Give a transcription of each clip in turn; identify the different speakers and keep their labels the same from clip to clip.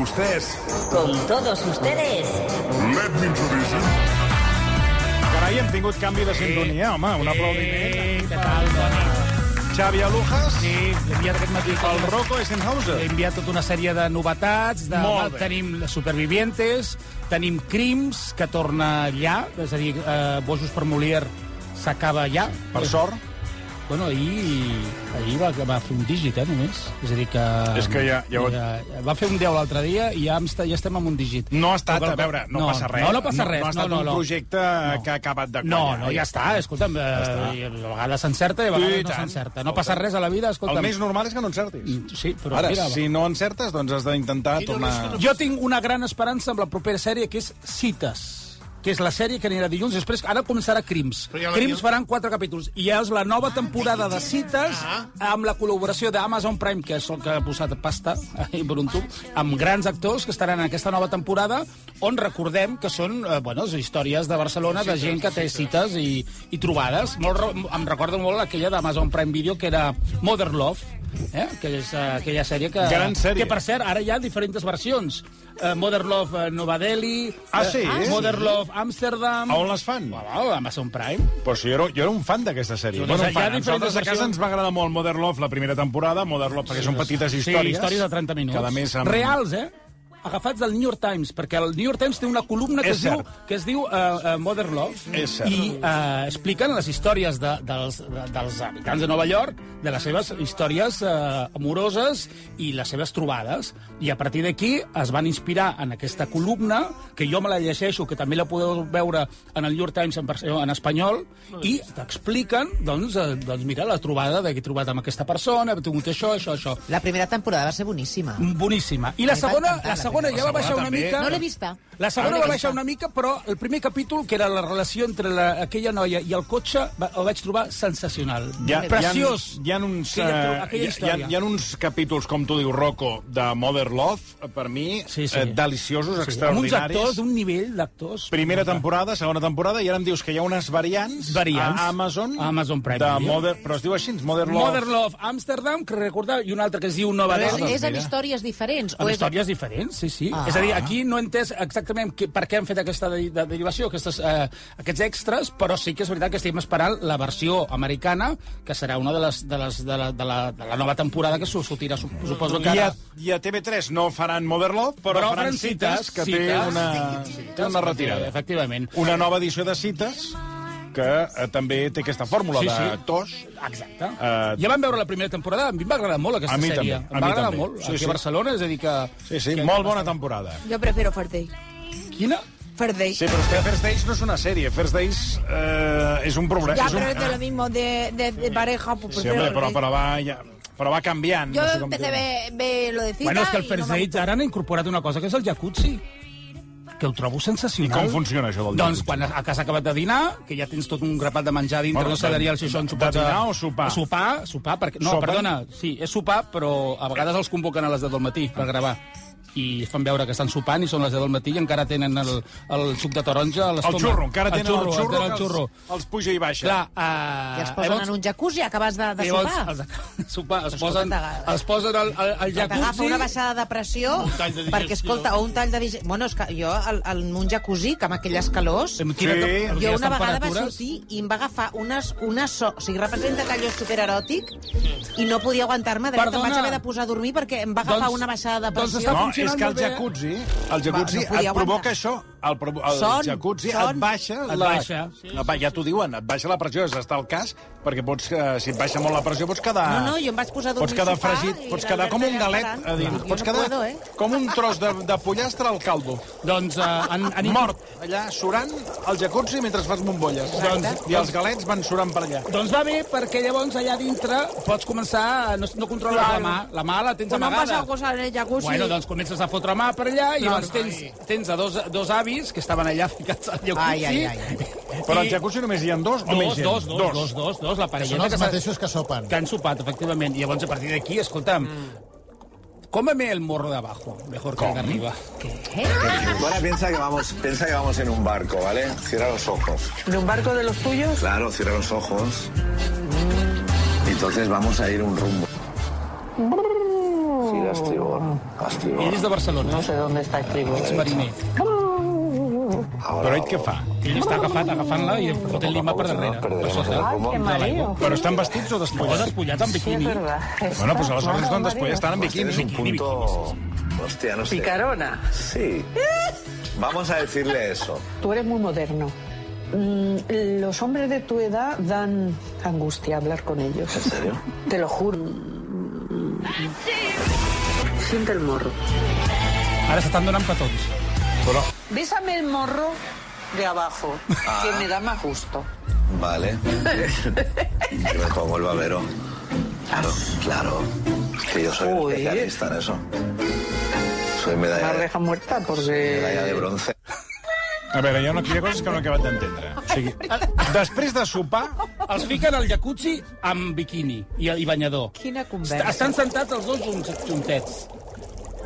Speaker 1: ustedes.
Speaker 2: Con todos ustedes.
Speaker 3: Let me introduce you.
Speaker 1: Carai, hem tingut canvi de sintonia, home. Un aplaudiment.
Speaker 4: Què tal? Bona nit.
Speaker 1: Xavi Alujas,
Speaker 4: Sí, l'he enviat aquest matí.
Speaker 1: el Rocco Eisenhauser.
Speaker 4: He enviat tota una sèrie de novetats. De...
Speaker 1: Molt bé.
Speaker 4: Tenim Supervivientes, tenim Crims, que torna allà, és a dir, eh, Bojos per Molière s'acaba allà. Eh,
Speaker 1: Per sort.
Speaker 4: Bueno, ahir, ahir va, va fer un dígit, eh, només. És a dir que...
Speaker 1: És que ja- ja ho-
Speaker 4: ja va fer un 10 l'altre dia i ja, em sta- ja estem amb un dígit.
Speaker 1: No ha estat,
Speaker 4: Però-
Speaker 1: a veure, no,
Speaker 4: no,
Speaker 1: passa res.
Speaker 4: no, no passa
Speaker 1: No,
Speaker 4: res,
Speaker 1: no ha estat
Speaker 4: no, no,
Speaker 1: un
Speaker 4: no.
Speaker 1: projecte que ha acabat de
Speaker 4: No,
Speaker 1: quallar.
Speaker 4: no, ja està, escolta'm, eh, ja a vegades s'encerta i a
Speaker 1: I
Speaker 4: vegades no
Speaker 1: tant.
Speaker 4: s'encerta. No passa res a la vida,
Speaker 1: El
Speaker 4: escolta'm.
Speaker 1: més normal és que no encertis.
Speaker 4: Sí, però
Speaker 1: Ara,
Speaker 4: mira,
Speaker 1: si no encertes, doncs has d'intentar tornar...
Speaker 4: Jo tinc una gran esperança amb la propera sèrie, que és Cites, que és la sèrie que anirà dilluns. Després, ara començarà Crims.
Speaker 5: Però ja la Ah,
Speaker 4: Crims
Speaker 5: vi-
Speaker 4: faran quatre capítols. I és la nova temporada de Cites
Speaker 5: Ah.
Speaker 4: amb la col·laboració d'Amazon Prime, que és el que ha posat pasta i Brunto, amb grans actors que estaran en aquesta nova temporada, on recordem que són eh, bueno, històries de Barcelona de gent que té cites i, i trobades. Molt, re- em recorda molt aquella d'Amazon Prime Video, que era Mother Love, eh? que és eh, aquella sèrie que...
Speaker 1: Gran sèrie.
Speaker 4: Que, per cert, ara hi ha diferents versions. Uh, Modern Love eh, Nova Delhi...
Speaker 1: Ah,
Speaker 4: eh,
Speaker 1: sí? Ah,
Speaker 4: Modern Love Amsterdam...
Speaker 1: A on les fan?
Speaker 4: Ah, val, Amazon Prime.
Speaker 1: Però si jo era, jo era un fan d'aquesta sèrie.
Speaker 4: Jo
Speaker 1: Bueno,
Speaker 4: no sé,
Speaker 1: un fan.
Speaker 4: hi ha
Speaker 1: A nosaltres a
Speaker 4: diferents
Speaker 1: casa ens va agradar molt Modern Love, la primera temporada, Modern Love, perquè són petites històries.
Speaker 4: Sí, històries de 30 minuts.
Speaker 1: Cada més amb...
Speaker 4: Reals, eh? agafats del New York Times, perquè el New York Times té una columna que
Speaker 1: És
Speaker 4: es diu,
Speaker 1: cert.
Speaker 4: que es diu uh, uh, Mother Love,
Speaker 1: És cert.
Speaker 4: i uh, expliquen les històries de, dels, de, dels habitants de Nova York, de les seves històries uh, amoroses i les seves trobades. I a partir d'aquí es van inspirar en aquesta columna, que jo me la llegeixo, que també la podeu veure en el New York Times en, versió- en espanyol, i t'expliquen, doncs, eh, doncs, mira, la trobada, de que he trobat amb aquesta persona, he tingut això, això, això.
Speaker 6: La primera temporada va ser boníssima.
Speaker 4: Boníssima. I la
Speaker 6: Em va
Speaker 4: segona,
Speaker 6: encantar
Speaker 4: la
Speaker 6: la
Speaker 4: segona
Speaker 6: primera.
Speaker 4: ja va baixar una
Speaker 1: també.
Speaker 4: mica...
Speaker 6: No l'he vista.
Speaker 4: La segona
Speaker 6: No l'he
Speaker 4: va
Speaker 6: vista.
Speaker 4: baixar una mica, però el primer capítol, que era la relació entre la, aquella noia i el cotxe, va, el vaig trobar sensacional.
Speaker 1: Hi
Speaker 4: Preciós.
Speaker 1: ha, hi ha uns,
Speaker 4: Aquella tro-
Speaker 1: eh,
Speaker 4: aquella
Speaker 1: hi, ha,
Speaker 4: història.
Speaker 1: hi ha uns capítols, com tu dius, Rocco, de Modern Love, eh, per mi,
Speaker 4: Sí, sí.
Speaker 1: eh, deliciosos,
Speaker 4: amb uns
Speaker 1: extraordinaris.
Speaker 4: actors d'un nivell d'actors...
Speaker 1: Primera temporada, segona temporada, i ara em dius que hi ha unes variants,
Speaker 4: Variants.
Speaker 1: a Amazon,
Speaker 4: A Amazon Prime
Speaker 1: de
Speaker 4: Video.
Speaker 1: Modern, però es diu així, Modern Love.
Speaker 4: Modern Love Amsterdam, que recordar, i una altra que es diu Nova
Speaker 6: Però és,
Speaker 4: Delhi.
Speaker 6: és en
Speaker 1: mira.
Speaker 6: històries diferents?
Speaker 4: Amb
Speaker 6: o és...
Speaker 4: històries diferents, sí, sí. Ah.
Speaker 6: Ah.
Speaker 4: És a dir, aquí no he entès exactament que, per què han fet aquesta de, de derivació, aquestes, eh, aquests extras, però sí que és veritat que estem esperant la versió americana, que serà una de les, de les de la, de la, de la nova temporada que su- sortirà, su- suposo que
Speaker 1: I a,
Speaker 4: ara...
Speaker 1: I a TV3 no faran Modern Love, però,
Speaker 4: Però
Speaker 1: faran
Speaker 4: faran
Speaker 1: cites,
Speaker 4: cites,
Speaker 1: que té
Speaker 4: cites.
Speaker 1: una, té una retirada.
Speaker 4: Efectivament.
Speaker 1: Una nova edició de cites que eh, també té aquesta fórmula
Speaker 4: Sí,
Speaker 1: sí,
Speaker 4: sí.
Speaker 1: sí. d'actors.
Speaker 4: Exacte.
Speaker 1: Eh,
Speaker 4: Uh, ja vam veure la primera temporada, a mi em va agradar molt aquesta
Speaker 1: A mi
Speaker 4: sèrie.
Speaker 1: també, a
Speaker 4: em
Speaker 1: mi
Speaker 4: va agradar
Speaker 1: també.
Speaker 4: molt.
Speaker 1: Sí,
Speaker 4: Aquí
Speaker 1: sí.
Speaker 4: a Barcelona, és a dir que...
Speaker 1: Sí, sí,
Speaker 4: que-
Speaker 1: molt bona temporada.
Speaker 7: Yo prefiero First Day.
Speaker 4: Quina?
Speaker 7: First Day.
Speaker 1: Sí, però és que First Days no és una sèrie. First Days eh, és un problema.
Speaker 7: ya,
Speaker 1: és un...
Speaker 7: pero es de lo mismo, de, de, de pareja. Pues
Speaker 1: Sí,
Speaker 7: prefiero
Speaker 1: home,
Speaker 7: First
Speaker 1: però,
Speaker 7: Dates.
Speaker 1: però, va, ja, però va canviant.
Speaker 7: Yo
Speaker 1: no sé com
Speaker 7: empecé a
Speaker 1: dir-ho.
Speaker 7: ver, ver lo de cita
Speaker 4: Bueno, és que el
Speaker 7: y
Speaker 4: First
Speaker 7: no me
Speaker 4: Dates ara han incorporat una cosa que és el jacuzzi, que ho trobo sensacional.
Speaker 1: I com funciona això del
Speaker 4: Doncs
Speaker 1: jacuzzi?
Speaker 4: quan a- que has acabat de dinar, que ja tens tot un grapat de menjar dintre,
Speaker 1: Bueno,
Speaker 4: bueno, no sé
Speaker 1: de-
Speaker 4: dir el si són
Speaker 1: de
Speaker 4: sopars...
Speaker 1: dinar o sopar?
Speaker 4: Sopar, sopar, perquè... No,
Speaker 1: Sopar?
Speaker 4: perdona, sí, és sopar, però a vegades els convoquen a les 10 del matí per gravar i es fan veure que estan sopant i són les 10 del matí i encara tenen el, el suc de taronja a
Speaker 1: El
Speaker 4: l'estómac.
Speaker 1: xurro, encara tenen el xurro,
Speaker 4: encara el
Speaker 1: que
Speaker 4: xurro.
Speaker 1: Els, els puja i baixa.
Speaker 4: Clar, uh,
Speaker 6: Que es posen en un jacuzzi, acabes de, de
Speaker 4: llavors,
Speaker 6: sopar.
Speaker 4: els, sopar, es posen,
Speaker 6: t'agrada.
Speaker 4: es posen al, al, al
Speaker 6: Que T'agafa
Speaker 4: jacuzzi...
Speaker 6: una baixada de pressió
Speaker 5: tall de
Speaker 6: perquè,
Speaker 5: digestió.
Speaker 6: escolta, o un tall de digestió... Bueno, és que jo, al, al, en un jacuzzi, que amb aquelles calors...
Speaker 4: Em
Speaker 1: Sí.
Speaker 4: tira cap-
Speaker 1: Jo
Speaker 6: Jo
Speaker 4: aquelles
Speaker 6: una vegada vaig
Speaker 4: temperatures.
Speaker 6: sortir i em va agafar unes, una so... O sigui, representa que allò és supereròtic i no podia aguantar-me. De fet,
Speaker 4: Perdona.
Speaker 6: em vaig haver de posar a dormir perquè em va agafar
Speaker 4: Doncs-
Speaker 6: una baixada de
Speaker 4: doncs
Speaker 6: pressió.
Speaker 4: està
Speaker 1: No,
Speaker 4: funcionant
Speaker 1: és que el
Speaker 4: molt bé.
Speaker 1: jacuzzi, el jacuzzi
Speaker 6: Va, no
Speaker 1: et
Speaker 6: podia
Speaker 1: provoca
Speaker 6: aguantar.
Speaker 1: això. El, pro- el
Speaker 6: Son,
Speaker 1: jacuzzi et
Speaker 6: son.
Speaker 1: baixa...
Speaker 4: Et
Speaker 1: la,
Speaker 4: baixa.
Speaker 1: Sí, sí, ja t'ho diuen, et baixa la pressió, és estar al cas, perquè pots, eh, si et baixa molt la pressió pots quedar...
Speaker 6: No, no, jo em vaig posar a
Speaker 1: Ah.
Speaker 6: dormir
Speaker 1: Pots quedar
Speaker 6: al sofà
Speaker 1: fregit,
Speaker 6: i
Speaker 1: pots quedar com un
Speaker 6: l'Albert allà
Speaker 1: galet,
Speaker 6: esperant.
Speaker 1: a dir,
Speaker 6: Jo
Speaker 1: pots
Speaker 6: no
Speaker 1: quedar
Speaker 6: puedo, eh?
Speaker 1: com un tros de, de pollastre al caldo.
Speaker 4: Doncs uh, han, han
Speaker 1: Mort, allà, surant al jacuzzi mentre fas bombolles.
Speaker 4: Doncs-
Speaker 1: I els galets van surant per allà.
Speaker 4: Doncs va bé, perquè llavors allà dintre pots començar... a- No, no controles
Speaker 7: Claro.
Speaker 4: la mà, la mà la tens
Speaker 7: Pues me han
Speaker 4: amagada.
Speaker 7: pasado cosas en el jacuzzi.
Speaker 4: Bueno, doncs comences a fotre mà per allà i llavors tens, tens a dos, dos avis que estaven allà ficats al jacuzzi.
Speaker 6: Ai, ai, ai, ai.
Speaker 1: Però al jacuzzi només hi ha dos o
Speaker 4: Dos,
Speaker 1: més gent?
Speaker 4: dos, dos, dos, dos, dos, la parella.
Speaker 5: Són els mateixos que sopen.
Speaker 4: Que han sopat, efectivament. I llavors, a partir d'aquí, escolta'm, cómeme el morro de abajo, mejor que el de arriba.
Speaker 8: Ahora piensa que vamos, piensa que vamos en un barco, ¿vale? Cierra los ojos.
Speaker 9: ¿De un barco de los tuyos?
Speaker 8: Claro, cierra los ojos. Y entonces vamos a ir un rumbo. Gira a estribor. Hòstia,
Speaker 4: Ell és de Barcelona,
Speaker 5: No sé dónde está el trigo.
Speaker 4: és mariner.
Speaker 8: ahora,
Speaker 1: Però ell què fa?
Speaker 4: Ell està agafat, agafant-la i fotent-li mà per darrere. Per sota.
Speaker 5: Qué
Speaker 8: rumbo.
Speaker 5: marido.
Speaker 1: Però estan vestits o
Speaker 4: Però
Speaker 1: despullats?
Speaker 4: despullats amb
Speaker 5: Sí, es
Speaker 4: biquini.
Speaker 5: verdad.
Speaker 1: Bueno,
Speaker 5: Está
Speaker 1: doncs
Speaker 9: Ah,
Speaker 1: aleshores no
Speaker 5: formado
Speaker 1: estan despullats,
Speaker 5: marido.
Speaker 1: estan en biquini.
Speaker 8: Tienes un
Speaker 1: biquini, biquini.
Speaker 8: punto... Hostia, no sé.
Speaker 5: Picarona,
Speaker 8: Sí. Vamos a decirle eso.
Speaker 5: tú eres muy moderno. Mm, Los hombres de tu edad dan angustia hablar con ellos.
Speaker 8: ¿En serio?
Speaker 5: Te lo juro. Siente el morro.
Speaker 4: Ara s'estan donant petons.
Speaker 5: Bésame el morro de abajo, que me da más gusto.
Speaker 8: Vale. Yo me pongo el babero. Claro, claro. Es que yo soy un
Speaker 5: Uy.
Speaker 8: especialista en eso. Soy medalla,
Speaker 5: Una
Speaker 8: de-
Speaker 5: reja muerta
Speaker 8: medalla de
Speaker 5: porque...
Speaker 8: bronce.
Speaker 1: A veure, hi ha, una, hi ha coses que no he acabat d'entendre. O sigui, després de sopar,
Speaker 4: Els fiquen al jacuzzi amb biquini i, i banyador.
Speaker 6: Quina
Speaker 4: Est-
Speaker 6: conversa.
Speaker 4: Estan sentats els dos junts, juntets.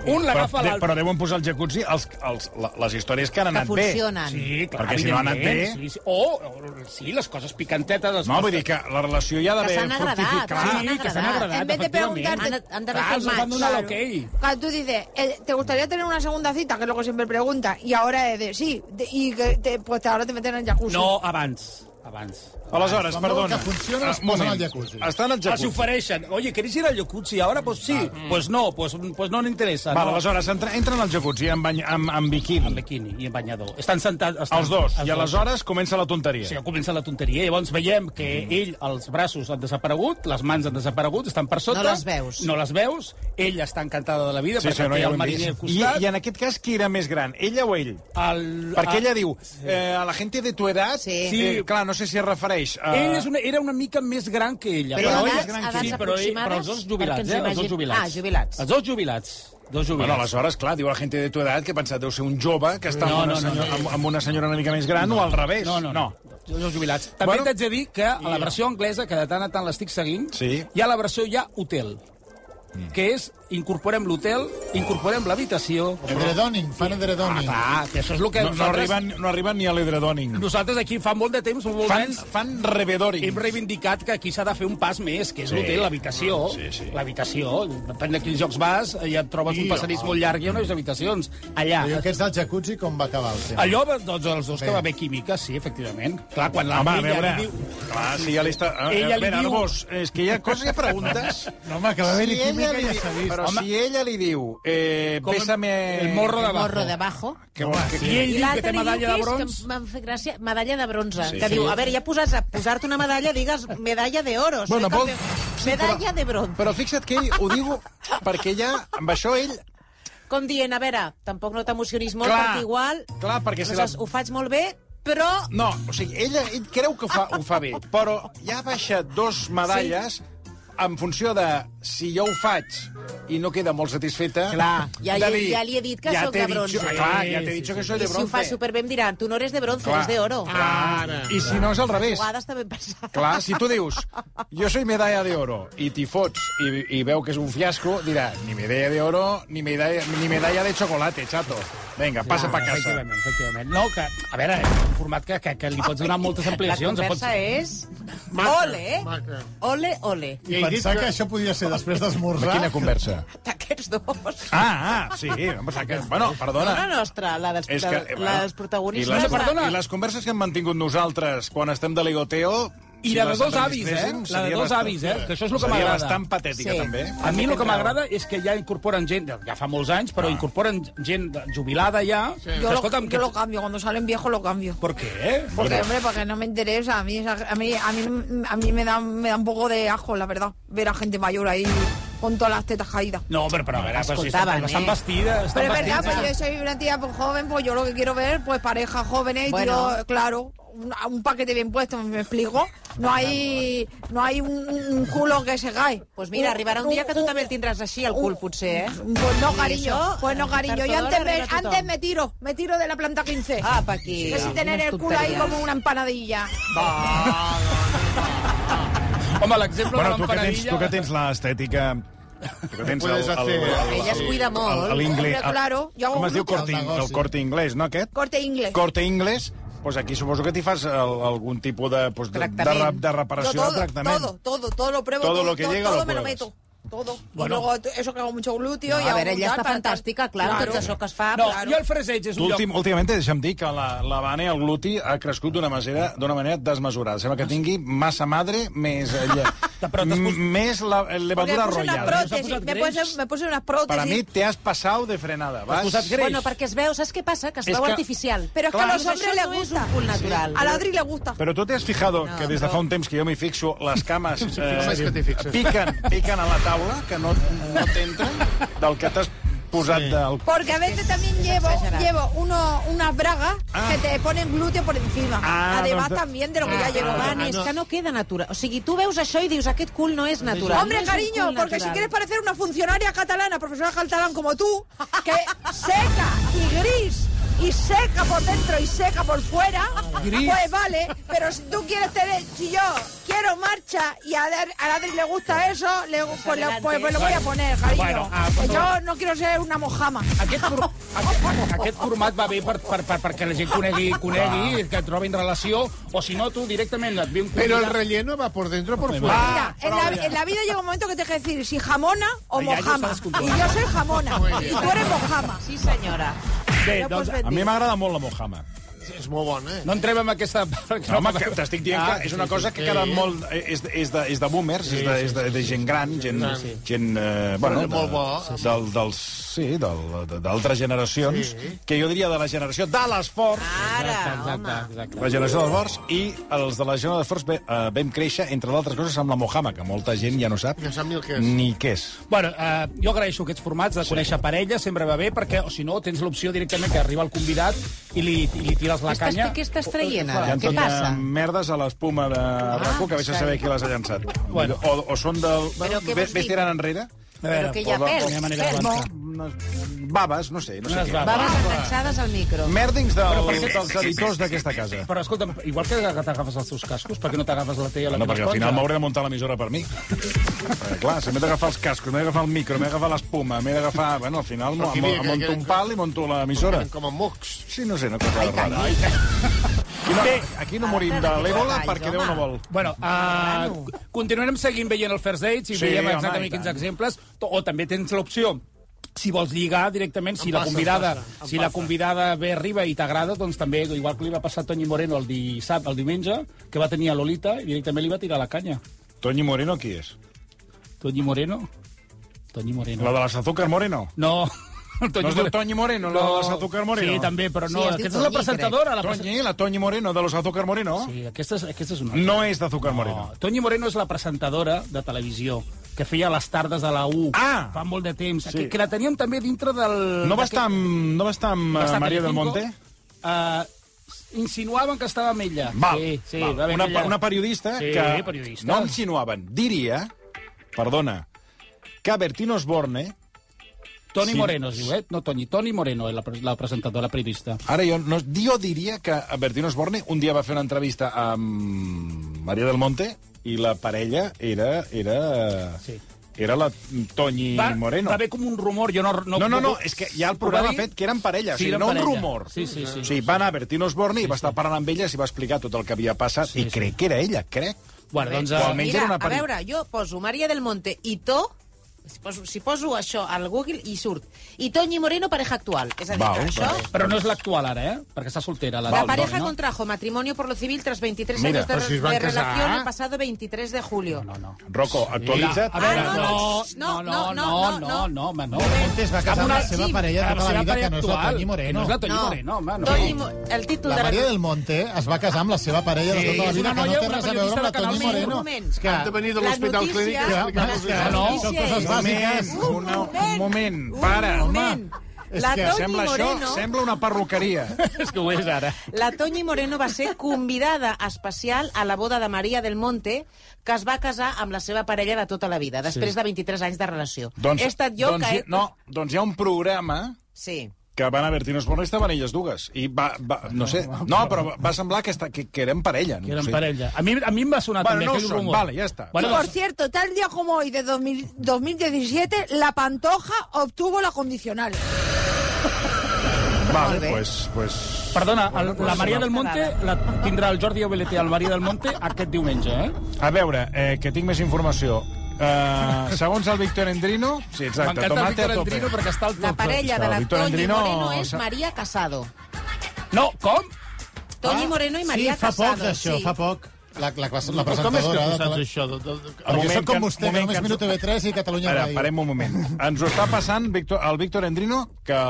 Speaker 4: Un
Speaker 1: però,
Speaker 4: l'agafa
Speaker 1: de,
Speaker 4: l'altre.
Speaker 1: però deuen posar al jacuzzi els, els, la- les històries que han
Speaker 6: Que
Speaker 1: anat bé.
Speaker 6: funcionen.
Speaker 1: Perquè si no ha anat
Speaker 4: evidentment,
Speaker 1: bé-
Speaker 4: Sí, sí. O, o, sí, les coses picantetes... Les
Speaker 1: No,
Speaker 4: coses-
Speaker 1: vull dir que la relació ja ha
Speaker 6: Que
Speaker 1: d'haver
Speaker 6: s'han agradat,
Speaker 1: fructificat.
Speaker 6: que
Speaker 4: Sí,
Speaker 6: s'han
Speaker 4: sí, que s'han
Speaker 6: agradat.
Speaker 4: agradat,
Speaker 7: En vez de
Speaker 4: efectivament.
Speaker 7: preguntar-te-
Speaker 6: Han- han de
Speaker 4: Clar,
Speaker 6: fer
Speaker 4: els van
Speaker 6: match,
Speaker 4: donar
Speaker 6: claro.
Speaker 4: l'okei.
Speaker 7: Claro, tú dices, eh, ¿te gustaría tener una segunda cita? Que es lo que siempre pregunta. Y ahora es de sí. de- y que te- pues ahora te meten en el jacuzzi.
Speaker 4: No, abans. Abans.
Speaker 1: Aleshores,
Speaker 9: Quan veuen
Speaker 1: perdona.
Speaker 9: que funciona,
Speaker 1: Ah,
Speaker 9: es
Speaker 1: un
Speaker 9: posen
Speaker 1: moment.
Speaker 9: al jacuzzi.
Speaker 1: Estan al
Speaker 4: Els
Speaker 1: jacuzzi. Ah, mm.
Speaker 4: ofereixen. Oye, ¿queréis ir al jacuzzi ahora? Pues sí. Pues no, pues, pues no n'interessa.
Speaker 1: Val,
Speaker 4: no.
Speaker 1: aleshores, entra, entren al jacuzzi amb, bany, amb, amb biquini.
Speaker 4: Amb biquini i en banyador. Estan sentats... Estan,
Speaker 1: Els dos. I
Speaker 4: dos.
Speaker 1: aleshores comença la
Speaker 4: Sí,
Speaker 1: tonteria.
Speaker 4: ja comença la tonteria. Llavors veiem que
Speaker 1: Mm.
Speaker 4: ell, els braços han desaparegut, les mans han desaparegut, estan per sota.
Speaker 6: No les veus.
Speaker 4: No les veus. Ella està encantada de la vida
Speaker 1: Sí,
Speaker 4: perquè
Speaker 1: sí, no,
Speaker 4: té
Speaker 1: ja ho
Speaker 4: el
Speaker 1: hem
Speaker 4: mariner al
Speaker 1: vist. I,
Speaker 4: costat. Ah.
Speaker 1: I en aquest cas, qui era més gran, ella o ell?
Speaker 4: El,
Speaker 1: Perquè
Speaker 4: el-
Speaker 1: ella diu, eh, a la gent de tu edat...
Speaker 6: Sí.
Speaker 1: Eh, clar, no sé si es refereix a...
Speaker 4: Ell és una, era una mica més gran que ella.
Speaker 6: Però
Speaker 4: ell
Speaker 6: edats-
Speaker 4: és gran
Speaker 6: edats
Speaker 4: que ella. sí, però, ell- però
Speaker 6: aproximades,
Speaker 4: els dos
Speaker 6: perquè
Speaker 4: jubilats,
Speaker 6: ens
Speaker 4: eh? Els dos
Speaker 6: imagin-
Speaker 4: jubilats.
Speaker 6: Ah, jubilats.
Speaker 4: Els dos jubilats. Dos jubilats.
Speaker 1: Bueno, aleshores, clar, diu la gent de tu edat que pensat deu ser un jove que està
Speaker 4: No,
Speaker 1: amb, una
Speaker 4: no, no,
Speaker 1: senyor-
Speaker 4: no.
Speaker 1: amb, amb una senyora una mica més gran o al revés.
Speaker 4: No, no, no. Els dos jubilats. També
Speaker 1: Bueno.
Speaker 4: bueno, t'haig de dir que a la versió anglesa, que de tant a tant l'estic seguint,
Speaker 1: Sí. Mm.
Speaker 4: hi ha la versió ja hotel, que és incorporem l'hotel, incorporem l'habitació...
Speaker 9: Edredoning, fan
Speaker 4: Ah,
Speaker 9: edredoning.
Speaker 4: clar, que això és el que
Speaker 1: No, no,
Speaker 4: nosaltres...
Speaker 1: arriben, no arriben ni a l'edredoning.
Speaker 4: Nosaltres aquí fa molt de temps, molt
Speaker 1: Fan,
Speaker 4: d'anys,
Speaker 1: fan revedoring.
Speaker 4: hem reivindicat que aquí s'ha de fer un pas més, que és
Speaker 1: Sí.
Speaker 4: l'hotel, l'habitació.
Speaker 1: Sí, sí.
Speaker 4: L'habitació. Depèn de quins jocs vas, ja et trobes un passadís molt llarg i unes habitacions. Allà.
Speaker 9: I aquests del jacuzzi com va acabar el tema?
Speaker 4: Allò, doncs, els dos que
Speaker 9: Bé.
Speaker 4: va haver química, sí, efectivament. Clar, quan la
Speaker 1: Home, a
Speaker 4: ella
Speaker 1: veure...
Speaker 4: li diu...
Speaker 1: Clar, si ja li està...
Speaker 4: Ella
Speaker 1: Ella
Speaker 4: li
Speaker 1: li
Speaker 4: diu-
Speaker 1: Arbós, és que hi ha coses que preguntes...
Speaker 9: No, home, que va haver-hi
Speaker 1: Si ella
Speaker 9: química
Speaker 1: li
Speaker 9: ja
Speaker 1: diu-
Speaker 9: s'ha vist.
Speaker 1: Però
Speaker 9: Home,
Speaker 1: si ella li diu... Eh,
Speaker 4: Com el-
Speaker 1: bésame...
Speaker 4: el morro de-
Speaker 6: Morro de abajo.
Speaker 1: Que, que,
Speaker 4: I ell
Speaker 6: I
Speaker 4: diu que té
Speaker 6: l'altre diu
Speaker 4: medalla de
Speaker 6: que
Speaker 4: bronze.
Speaker 6: és que m'han fet gràcia, medalla de bronze.
Speaker 1: Sí.
Speaker 6: Sí. Que
Speaker 1: Sí.
Speaker 6: diu, a veure, ja posats a posar-te una medalla, digues medalla de oro. soy
Speaker 1: Bueno, vol...
Speaker 6: campeón. Medalla de bronze.
Speaker 1: Però fixa't que ell ho diu perquè ja, amb això ell...
Speaker 6: Com dient, a veure, tampoc no t'emocionis molt,
Speaker 1: Clar.
Speaker 6: perquè igual...
Speaker 1: Clar, perquè si la-
Speaker 6: Aleshores, Ho faig molt bé, però...
Speaker 1: No, o sigui, ella, ell creu que ho fa, ho fa bé, però ja baixa dos medalles sí. en funció de si jo ho faig i no queda molt satisfeta...
Speaker 6: Clar. Ja
Speaker 1: de
Speaker 6: li- ja li he dit que
Speaker 1: ja
Speaker 6: sóc
Speaker 1: t'he
Speaker 6: de
Speaker 1: dit
Speaker 6: bronze.
Speaker 1: jo- clar, ja t'he
Speaker 4: Sí,
Speaker 1: dit
Speaker 4: sí,
Speaker 1: jo que soy
Speaker 6: I
Speaker 1: de
Speaker 6: si ho
Speaker 1: bronze.
Speaker 6: fa superbé em diran, tu no eres de bronze,
Speaker 1: Clar. Ah,
Speaker 6: eres de oro.
Speaker 4: Ara.
Speaker 1: I si no és al
Speaker 6: A
Speaker 1: revés.
Speaker 6: vegades també passa.
Speaker 1: Clar, si tu dius, jo soy medalla de oro, i t'hi fots i, i veu que és un fiasco, dirà, ni medalla de oro, ni medalla, ni medalla de chocolate, chato. Vinga, passa pa casa.
Speaker 4: Efectivament, efectivament. No, que, a veure, és un format que, que, que li pots donar moltes
Speaker 6: La
Speaker 4: ampliacions. et
Speaker 6: conversa és...
Speaker 9: Maca,
Speaker 6: ole, eh?
Speaker 9: maca.
Speaker 6: Ole, ole.
Speaker 9: I pensar que això podia ser després
Speaker 1: De
Speaker 9: d'esmorzar...
Speaker 1: quina conversa?
Speaker 6: Aquests dos.
Speaker 1: Ah, ah, sí. em pensava que- Bueno, perdona.
Speaker 6: La nostra, la dels,
Speaker 1: És que, eh,
Speaker 6: la
Speaker 1: bueno,
Speaker 6: dels protagonistes.
Speaker 1: I les,
Speaker 6: la-
Speaker 1: perdona, i les converses que hem mantingut nosaltres quan estem de ligoteo...
Speaker 4: I la de dos avis, eh? La de dos avis, eh? Que això és el que
Speaker 1: Seria
Speaker 4: m'agrada.
Speaker 1: bastant patètica,
Speaker 6: Sí.
Speaker 1: també.
Speaker 4: A mi el que m'agrada és que ja incorporen gent, ja fa molts anys, però incorporen gent jubilada ja. Sí.
Speaker 7: Yo, lo, yo lo cambio. Cuando salen viejos lo cambio.
Speaker 4: ¿Por qué?
Speaker 7: Porque, hombre, porque no me interesa. A mí, esa- a mí, a mí, a mí me, da, me da un poco de asco, la verdad. Ver a gente mayor ahí con todas las tetas caídas.
Speaker 4: No, però, però a veure, però si estan,
Speaker 6: Escoltaven,
Speaker 4: estan
Speaker 6: eh?
Speaker 4: vestides... Estan eh?
Speaker 7: Pero es verdad,
Speaker 4: vestides.
Speaker 7: pues yo soy una tía pues, joven, pues yo lo que quiero ver, pues parejas jóvenes, y
Speaker 6: Bueno.
Speaker 7: tío, claro, un, un paquete bien puesto, ¿me explico? No hay, no hay un, un culo que se cae.
Speaker 6: Pues mira, arribarà un dia que tu també el tindràs així, al cul, potser, eh?
Speaker 7: Pues no,
Speaker 6: I
Speaker 7: cariño,
Speaker 6: això,
Speaker 7: pues no, cariño. Yo
Speaker 6: Barcelona
Speaker 7: antes me,
Speaker 6: arriba tothom.
Speaker 7: antes me tiro, me tiro de la planta 15.
Speaker 6: Ah, pa aquí.
Speaker 7: que si tener el culo ahí como una empanadilla.
Speaker 4: Home, l'exemple
Speaker 1: Bueno,
Speaker 4: de
Speaker 1: tu que tens,
Speaker 4: l'empanadilla...
Speaker 1: tu que tens l'estètica... Tu que tens
Speaker 9: Puedes hacer-
Speaker 6: Ella es cuida molt.
Speaker 1: L'inglès...
Speaker 7: Hombre, claro, jo hago
Speaker 1: Com es diu?
Speaker 7: glúteo.
Speaker 1: Corte,
Speaker 9: El negoci.
Speaker 1: el corte inglès, no aquest?
Speaker 7: Corte inglés.
Speaker 1: Corte inglés. Pues aquí suposo que t'hi fas el, algun tipus de, pues, de, de,
Speaker 6: Tractament.
Speaker 1: de reparació,
Speaker 7: Yo
Speaker 1: de tractament.
Speaker 7: todo, todo, todo lo pruebo.
Speaker 1: Todo lo que llega
Speaker 7: todo
Speaker 1: lo
Speaker 7: me lo
Speaker 1: pruebas.
Speaker 7: meto. todo.
Speaker 4: Bueno.
Speaker 7: Y luego t- eso que hago mucho glúteo.
Speaker 6: No,
Speaker 7: y
Speaker 6: a
Speaker 7: hago
Speaker 6: veure, ella
Speaker 7: tal,
Speaker 6: està
Speaker 7: tal, tal.
Speaker 6: fantàstica, clar, amb tot això que es fa.
Speaker 4: No,
Speaker 6: clar.
Speaker 4: jo el Freseig és
Speaker 1: Tu
Speaker 4: un lloc...
Speaker 1: últim, últimament, deixa'm dir que la, la Bane, el gluti, ha crescut d'una manera, d'una manera desmesurada. Sembla que tingui massa madre més... eh, lle-
Speaker 4: De prou, t'has pus-
Speaker 1: m- més la, eh,
Speaker 7: Porque me
Speaker 1: levadura
Speaker 7: puse unas
Speaker 1: royal.
Speaker 4: prot- Us ha
Speaker 7: prótesis.
Speaker 4: posat
Speaker 7: Me
Speaker 4: greix?
Speaker 7: puse, me puse unas
Speaker 1: Per a mi
Speaker 7: prótesis.
Speaker 1: te has passado de frenada. Vas.
Speaker 4: posat greix.
Speaker 6: Bueno, perquè es veu, saps què passa? Que es
Speaker 1: És
Speaker 6: veu
Speaker 1: que-
Speaker 6: artificial.
Speaker 7: Però és que
Speaker 1: Clar.
Speaker 7: a los hombres
Speaker 6: Això
Speaker 7: les
Speaker 6: no és
Speaker 7: gusta.
Speaker 6: un punt natural.
Speaker 7: A la Adri le gusta.
Speaker 1: Però tu t'has fijat que des de fa un temps que jo m'hi fixo, les cames eh,
Speaker 9: fixes, que t'hi fixes.
Speaker 1: piquen, piquen a la taula, que no, no t'entren del que t'has posat
Speaker 9: Sí.
Speaker 1: del...
Speaker 7: Porque a veces también llevo, llevo uno, unas bragas
Speaker 1: Ah.
Speaker 7: que te ponen glúteo por encima.
Speaker 1: Ah,
Speaker 7: Además
Speaker 1: doncs-
Speaker 7: también de lo que
Speaker 6: Ah,
Speaker 7: ya llevo.
Speaker 6: però, Dani,
Speaker 9: ah,
Speaker 6: és
Speaker 9: no.
Speaker 6: que no queda natural. O sigui, tu veus això i dius, aquest cul no és natural.
Speaker 7: Hombre,
Speaker 6: No és un
Speaker 7: cariño,
Speaker 6: cul
Speaker 7: porque si
Speaker 6: natural.
Speaker 7: quieres parecer una funcionaria catalana, profesora catalán como tú, que seca y gris y seca por dentro y seca por fuera,
Speaker 4: Gris.
Speaker 7: pues vale, pero si tú quieres tener, si yo quiero marcha y a, Adri- a Adri le gusta eso, le, pues, lo-
Speaker 6: adelante.
Speaker 7: pues- pues lo voy a poner, cariño.
Speaker 4: Bueno, ah,
Speaker 7: Que
Speaker 4: pues-
Speaker 7: yo no quiero ser una mojama.
Speaker 4: Aquest, for, aquest, aquest format va bé per, per, per, perquè la gent conegui, conegui que trobin relació, o si no, tu directament et ve un
Speaker 10: Pero el
Speaker 4: convidat-
Speaker 10: relleno va por dentro o por fuera.
Speaker 4: Ah,
Speaker 7: Mira, en la, en la vida llega un momento que te deja decir si jamona o
Speaker 4: Ay, ya, ya
Speaker 7: mojama.
Speaker 4: estás
Speaker 7: Y
Speaker 4: controlando.
Speaker 7: yo soy jamona. Y tú eres mojama.
Speaker 6: Sí, senyora.
Speaker 9: eh,
Speaker 4: Bé,
Speaker 7: Ja
Speaker 4: doncs,
Speaker 7: pots
Speaker 1: A mi m'agrada molt la Mojama.
Speaker 10: És molt bon, eh?
Speaker 4: no entrem en aquesta...
Speaker 1: No, home, que t'estic dient
Speaker 10: Ah,
Speaker 1: que és una cosa que queda molt... És, és, de, és de boomers, és de, és de, de gent gran, gent... gent eh, bueno, de,
Speaker 10: Molt bo.
Speaker 1: Del, dels, sí, del, de- d'altres generacions, que jo diria de la generació de l'esforç,
Speaker 6: Ara, home.
Speaker 1: la generació dels bords, i els de la generació d'esforç ve, eh, vam créixer, entre d'altres coses, amb la Mojama, que molta gent ja no sap,
Speaker 10: No sap ni el que és.
Speaker 1: ni què és.
Speaker 4: Bueno, eh, jo agraeixo aquests formats de conèixer parella, sempre va bé, perquè, o si no, tens l'opció directament que arriba el convidat i li, i li tires la
Speaker 6: Estàs-
Speaker 4: canya.
Speaker 6: Què estàs traient,
Speaker 1: Hi
Speaker 6: ara?
Speaker 1: ha tot
Speaker 6: Què passa? Ah,
Speaker 1: merdes a l'espuma de RACU que vés a saber qui les ha llançat.
Speaker 4: Bueno.
Speaker 1: O, o són del...
Speaker 6: Però què
Speaker 1: Ves ves
Speaker 6: vols dir?
Speaker 1: tirant enrere?
Speaker 6: Però que hi ha
Speaker 1: Perdó,
Speaker 6: pèls.
Speaker 4: d'alguna manera
Speaker 6: pèls.
Speaker 1: No,
Speaker 4: avança.
Speaker 1: unes baves, no sé, no sé
Speaker 4: Unes
Speaker 1: què.
Speaker 4: baves.
Speaker 6: Baves enganxades al micro.
Speaker 1: Merdings del,
Speaker 4: per què-
Speaker 1: dels editors d'aquesta casa.
Speaker 4: Però escolta'm, igual que t'agafes els teus cascos, per què no t'agafes la teva?
Speaker 1: No, perquè al final m'hauré de muntar l'emissora per mi. Perquè, clar, si m'he d'agafar els cascos, m'he d'agafar el micro, m'he d'agafar l'espuma, m'he d'agafar... Bueno, al final mo-
Speaker 10: Però qui
Speaker 1: mo-
Speaker 10: diria que-
Speaker 1: monto
Speaker 10: que-
Speaker 1: un pal i monto l'emissora.
Speaker 10: Com a mocs.
Speaker 1: Sí, no sé, no cosa rara. Aquí no, aquí no morim de l'Ebola perquè Déu no vol.
Speaker 4: Bueno, uh, continuarem seguint veient el First Dates i
Speaker 1: Sí,
Speaker 4: sí, veiem
Speaker 1: home,
Speaker 4: exactament
Speaker 1: i tant.
Speaker 4: quins exemples, to- o també tens l'opció si vols lligar directament, si la
Speaker 10: passa,
Speaker 4: convidada,
Speaker 10: em passa, em
Speaker 4: si la
Speaker 10: passa.
Speaker 4: convidada ve arriba i t'agrada, doncs també, igual que li va passar a Toni Moreno el dissabte, el diumenge, que va tenir a Lolita i directament li va tirar la canya.
Speaker 1: Toñi Moreno qui és?
Speaker 4: Toñi Moreno? Toñi Moreno.
Speaker 1: La de les Azúcar Moreno?
Speaker 4: No. El
Speaker 1: No es diu Toñi Moreno, la de les Azúcar Moreno?
Speaker 4: Sí, també, però no.
Speaker 6: Sí,
Speaker 4: Sí,
Speaker 6: es
Speaker 4: aquesta és
Speaker 6: diu
Speaker 4: la
Speaker 6: Toñi,
Speaker 4: presentadora. La presen-
Speaker 1: Toñi, la Toñi Moreno de los Azúcar Moreno?
Speaker 4: Sí, aquesta és, aquesta és una altra.
Speaker 1: No és d'Azúcar Moreno.
Speaker 4: No, Toñi Moreno és la presentadora de televisió que feia les tardes a la U
Speaker 1: Ah!
Speaker 4: fa molt de temps, sí. que, que la teníem també dintre del...
Speaker 1: No va estar amb, no va estar amb
Speaker 4: Va estar
Speaker 1: eh,
Speaker 4: a
Speaker 1: Maria del
Speaker 4: Telecinco.
Speaker 1: Monte?
Speaker 4: Eh, insinuaven que estava amb ella.
Speaker 1: Val,
Speaker 4: sí, sí,
Speaker 1: val.
Speaker 4: va haver
Speaker 1: una,
Speaker 4: aquella-
Speaker 1: una periodista
Speaker 4: Sí,
Speaker 1: que
Speaker 4: periodista.
Speaker 1: no insinuaven, diria, perdona, que Bertín Osborne,
Speaker 4: Toni
Speaker 1: sí.
Speaker 4: Moreno es diu, eh? No Toni, Toni Moreno, eh, la, pre- la presentadora periodista.
Speaker 1: ara jo, no, jo diria que Bertín Osborne un dia va fer una entrevista amb Maria del Monte i la parella era... era...
Speaker 4: Sí.
Speaker 1: Era la Toñi
Speaker 4: Va,
Speaker 1: Moreno.
Speaker 4: va haver com un rumor, jo no... No,
Speaker 1: No, no, no, és que ja el programa
Speaker 4: Ho
Speaker 1: ha
Speaker 4: va dir-
Speaker 1: fet que eren parella,
Speaker 4: Sí,
Speaker 1: sí, o sigui,
Speaker 4: eren
Speaker 1: no parella. un
Speaker 4: parella.
Speaker 1: rumor.
Speaker 4: Sí, sí, sí.
Speaker 1: O sigui, va anar a Bertín Osborne i va estar parlant amb ella i va explicar tot el que havia passat
Speaker 4: Sí,
Speaker 1: i
Speaker 4: sí.
Speaker 1: crec que era ella, crec.
Speaker 4: Bueno, doncs...
Speaker 1: O
Speaker 4: eh,
Speaker 1: almenys
Speaker 6: Mira,
Speaker 1: era una
Speaker 6: a
Speaker 1: parella.
Speaker 6: veure, jo poso Maria del Monte i to... Si poso, si poso això al Google i surt. I Toñi Moreno, pareja actual. És a dir,
Speaker 1: Val,
Speaker 6: que això...
Speaker 1: vale.
Speaker 4: Però no és l'actual ara, eh? Perquè està soltera. La,
Speaker 6: La
Speaker 1: Val,
Speaker 6: pareja
Speaker 4: Toni, no?
Speaker 6: contrajo matrimonio por lo civil tras 23
Speaker 1: Mira,
Speaker 6: años de,
Speaker 10: pero si
Speaker 6: de
Speaker 10: es van a casar.
Speaker 6: relación el pasado 23 de julio.
Speaker 4: No, no.
Speaker 1: Rocco, actualitza't.
Speaker 4: A veure,
Speaker 6: Ah,
Speaker 4: no,
Speaker 6: no,
Speaker 4: no, no,
Speaker 6: no,
Speaker 4: no, no, no,
Speaker 6: no, no,
Speaker 4: no, home, no.
Speaker 9: Montes va casar amb la seva parella de
Speaker 4: Amb la
Speaker 9: tota la
Speaker 4: seva
Speaker 9: vida,
Speaker 4: parella
Speaker 9: que no és la
Speaker 4: actual,
Speaker 9: Toñi
Speaker 4: que No
Speaker 9: Moreno.
Speaker 4: és la Toñi Moreno, home, no.
Speaker 6: Toñi Mo- el títol
Speaker 9: La
Speaker 6: de
Speaker 9: Maria del Monte es va casar amb la seva parella de
Speaker 4: Sí,
Speaker 9: tota la
Speaker 4: és
Speaker 9: vida,
Speaker 4: una
Speaker 9: que
Speaker 4: noia,
Speaker 9: no té
Speaker 4: una
Speaker 9: res a veure
Speaker 4: periodista
Speaker 9: amb la
Speaker 4: de Canal
Speaker 9: Toñi
Speaker 4: Més.
Speaker 1: eh,
Speaker 9: Moreno.
Speaker 6: Un moment.
Speaker 9: És que...
Speaker 10: Han de venir de
Speaker 6: La
Speaker 10: l'Hospital
Speaker 6: notícia-
Speaker 9: que,
Speaker 10: Clínic. a explicar-nos
Speaker 9: és que
Speaker 10: això.
Speaker 4: no.
Speaker 9: Són coses
Speaker 1: Un
Speaker 9: bàsiques.
Speaker 1: moment, una, un moment, para,
Speaker 6: un
Speaker 1: home.
Speaker 6: moment.
Speaker 9: És
Speaker 6: La
Speaker 9: que
Speaker 6: Toñi
Speaker 1: Sembla això,
Speaker 6: Moreno...
Speaker 1: sembla una perruqueria.
Speaker 4: És que ho és ara.
Speaker 6: La Toñi Moreno va ser convidada especial a la boda de Maria del Monte, que es va casar amb la seva parella de tota la vida, després de 23 anys de relació. he estat jo
Speaker 1: doncs,
Speaker 6: que... He...
Speaker 1: hi- No, doncs hi ha un programa
Speaker 6: Sí.
Speaker 1: que van a Bertín Osborne i estaven elles dues. I va, va, no sé, no, però va- va semblar que, esta, que, que eren parella.
Speaker 4: Que eren
Speaker 1: sí.
Speaker 4: parella. A mi, a mi em va sonar
Speaker 1: Bueno,
Speaker 4: també
Speaker 1: no
Speaker 4: aquell
Speaker 1: ho són,
Speaker 4: rumor.
Speaker 1: vale, ya está.
Speaker 7: Y
Speaker 4: Bueno,
Speaker 7: por
Speaker 4: doncs,
Speaker 7: cierto, tal día como hoy de 2000 2017, la Pantoja obtuvo la condicional.
Speaker 1: Vale, pues, pues...
Speaker 4: perdona, el, la
Speaker 1: pues,
Speaker 4: Maria del Monte la tindrà el Jordi Obelete al Maria del Monte aquest diumenge, eh?
Speaker 1: A veure, eh, que tinc més informació. Uh, segons el Víctor Endrino... Sí, exacte,
Speaker 4: M'encanta el
Speaker 1: tomate
Speaker 4: Víctor
Speaker 1: a tope.
Speaker 4: Endrino perquè està al
Speaker 6: La
Speaker 4: top.
Speaker 6: parella de
Speaker 1: Está,
Speaker 6: la
Speaker 1: Víctor
Speaker 6: Toñi
Speaker 1: Andrino
Speaker 6: Moreno és
Speaker 1: s'ha-
Speaker 6: María Casado.
Speaker 4: No, com?
Speaker 6: Toñi
Speaker 1: Ah,
Speaker 6: Moreno i María
Speaker 9: sí, fa
Speaker 6: Casado.
Speaker 9: poc d'això,
Speaker 6: sí.
Speaker 9: fa poc. La, la, la, la
Speaker 10: Però com és
Speaker 9: presentadora...
Speaker 10: que tu
Speaker 9: de
Speaker 10: saps
Speaker 9: tele-
Speaker 10: això? De, de, de...
Speaker 9: Perquè
Speaker 1: moment
Speaker 9: sóc com
Speaker 1: que-
Speaker 9: vostè,
Speaker 1: moment
Speaker 9: que només
Speaker 1: que-
Speaker 9: miro TV3 i Catalunya
Speaker 1: Ara,
Speaker 9: Ràdio.
Speaker 1: parem un moment. Ens ho està passant Víctor, el Víctor Endrino, que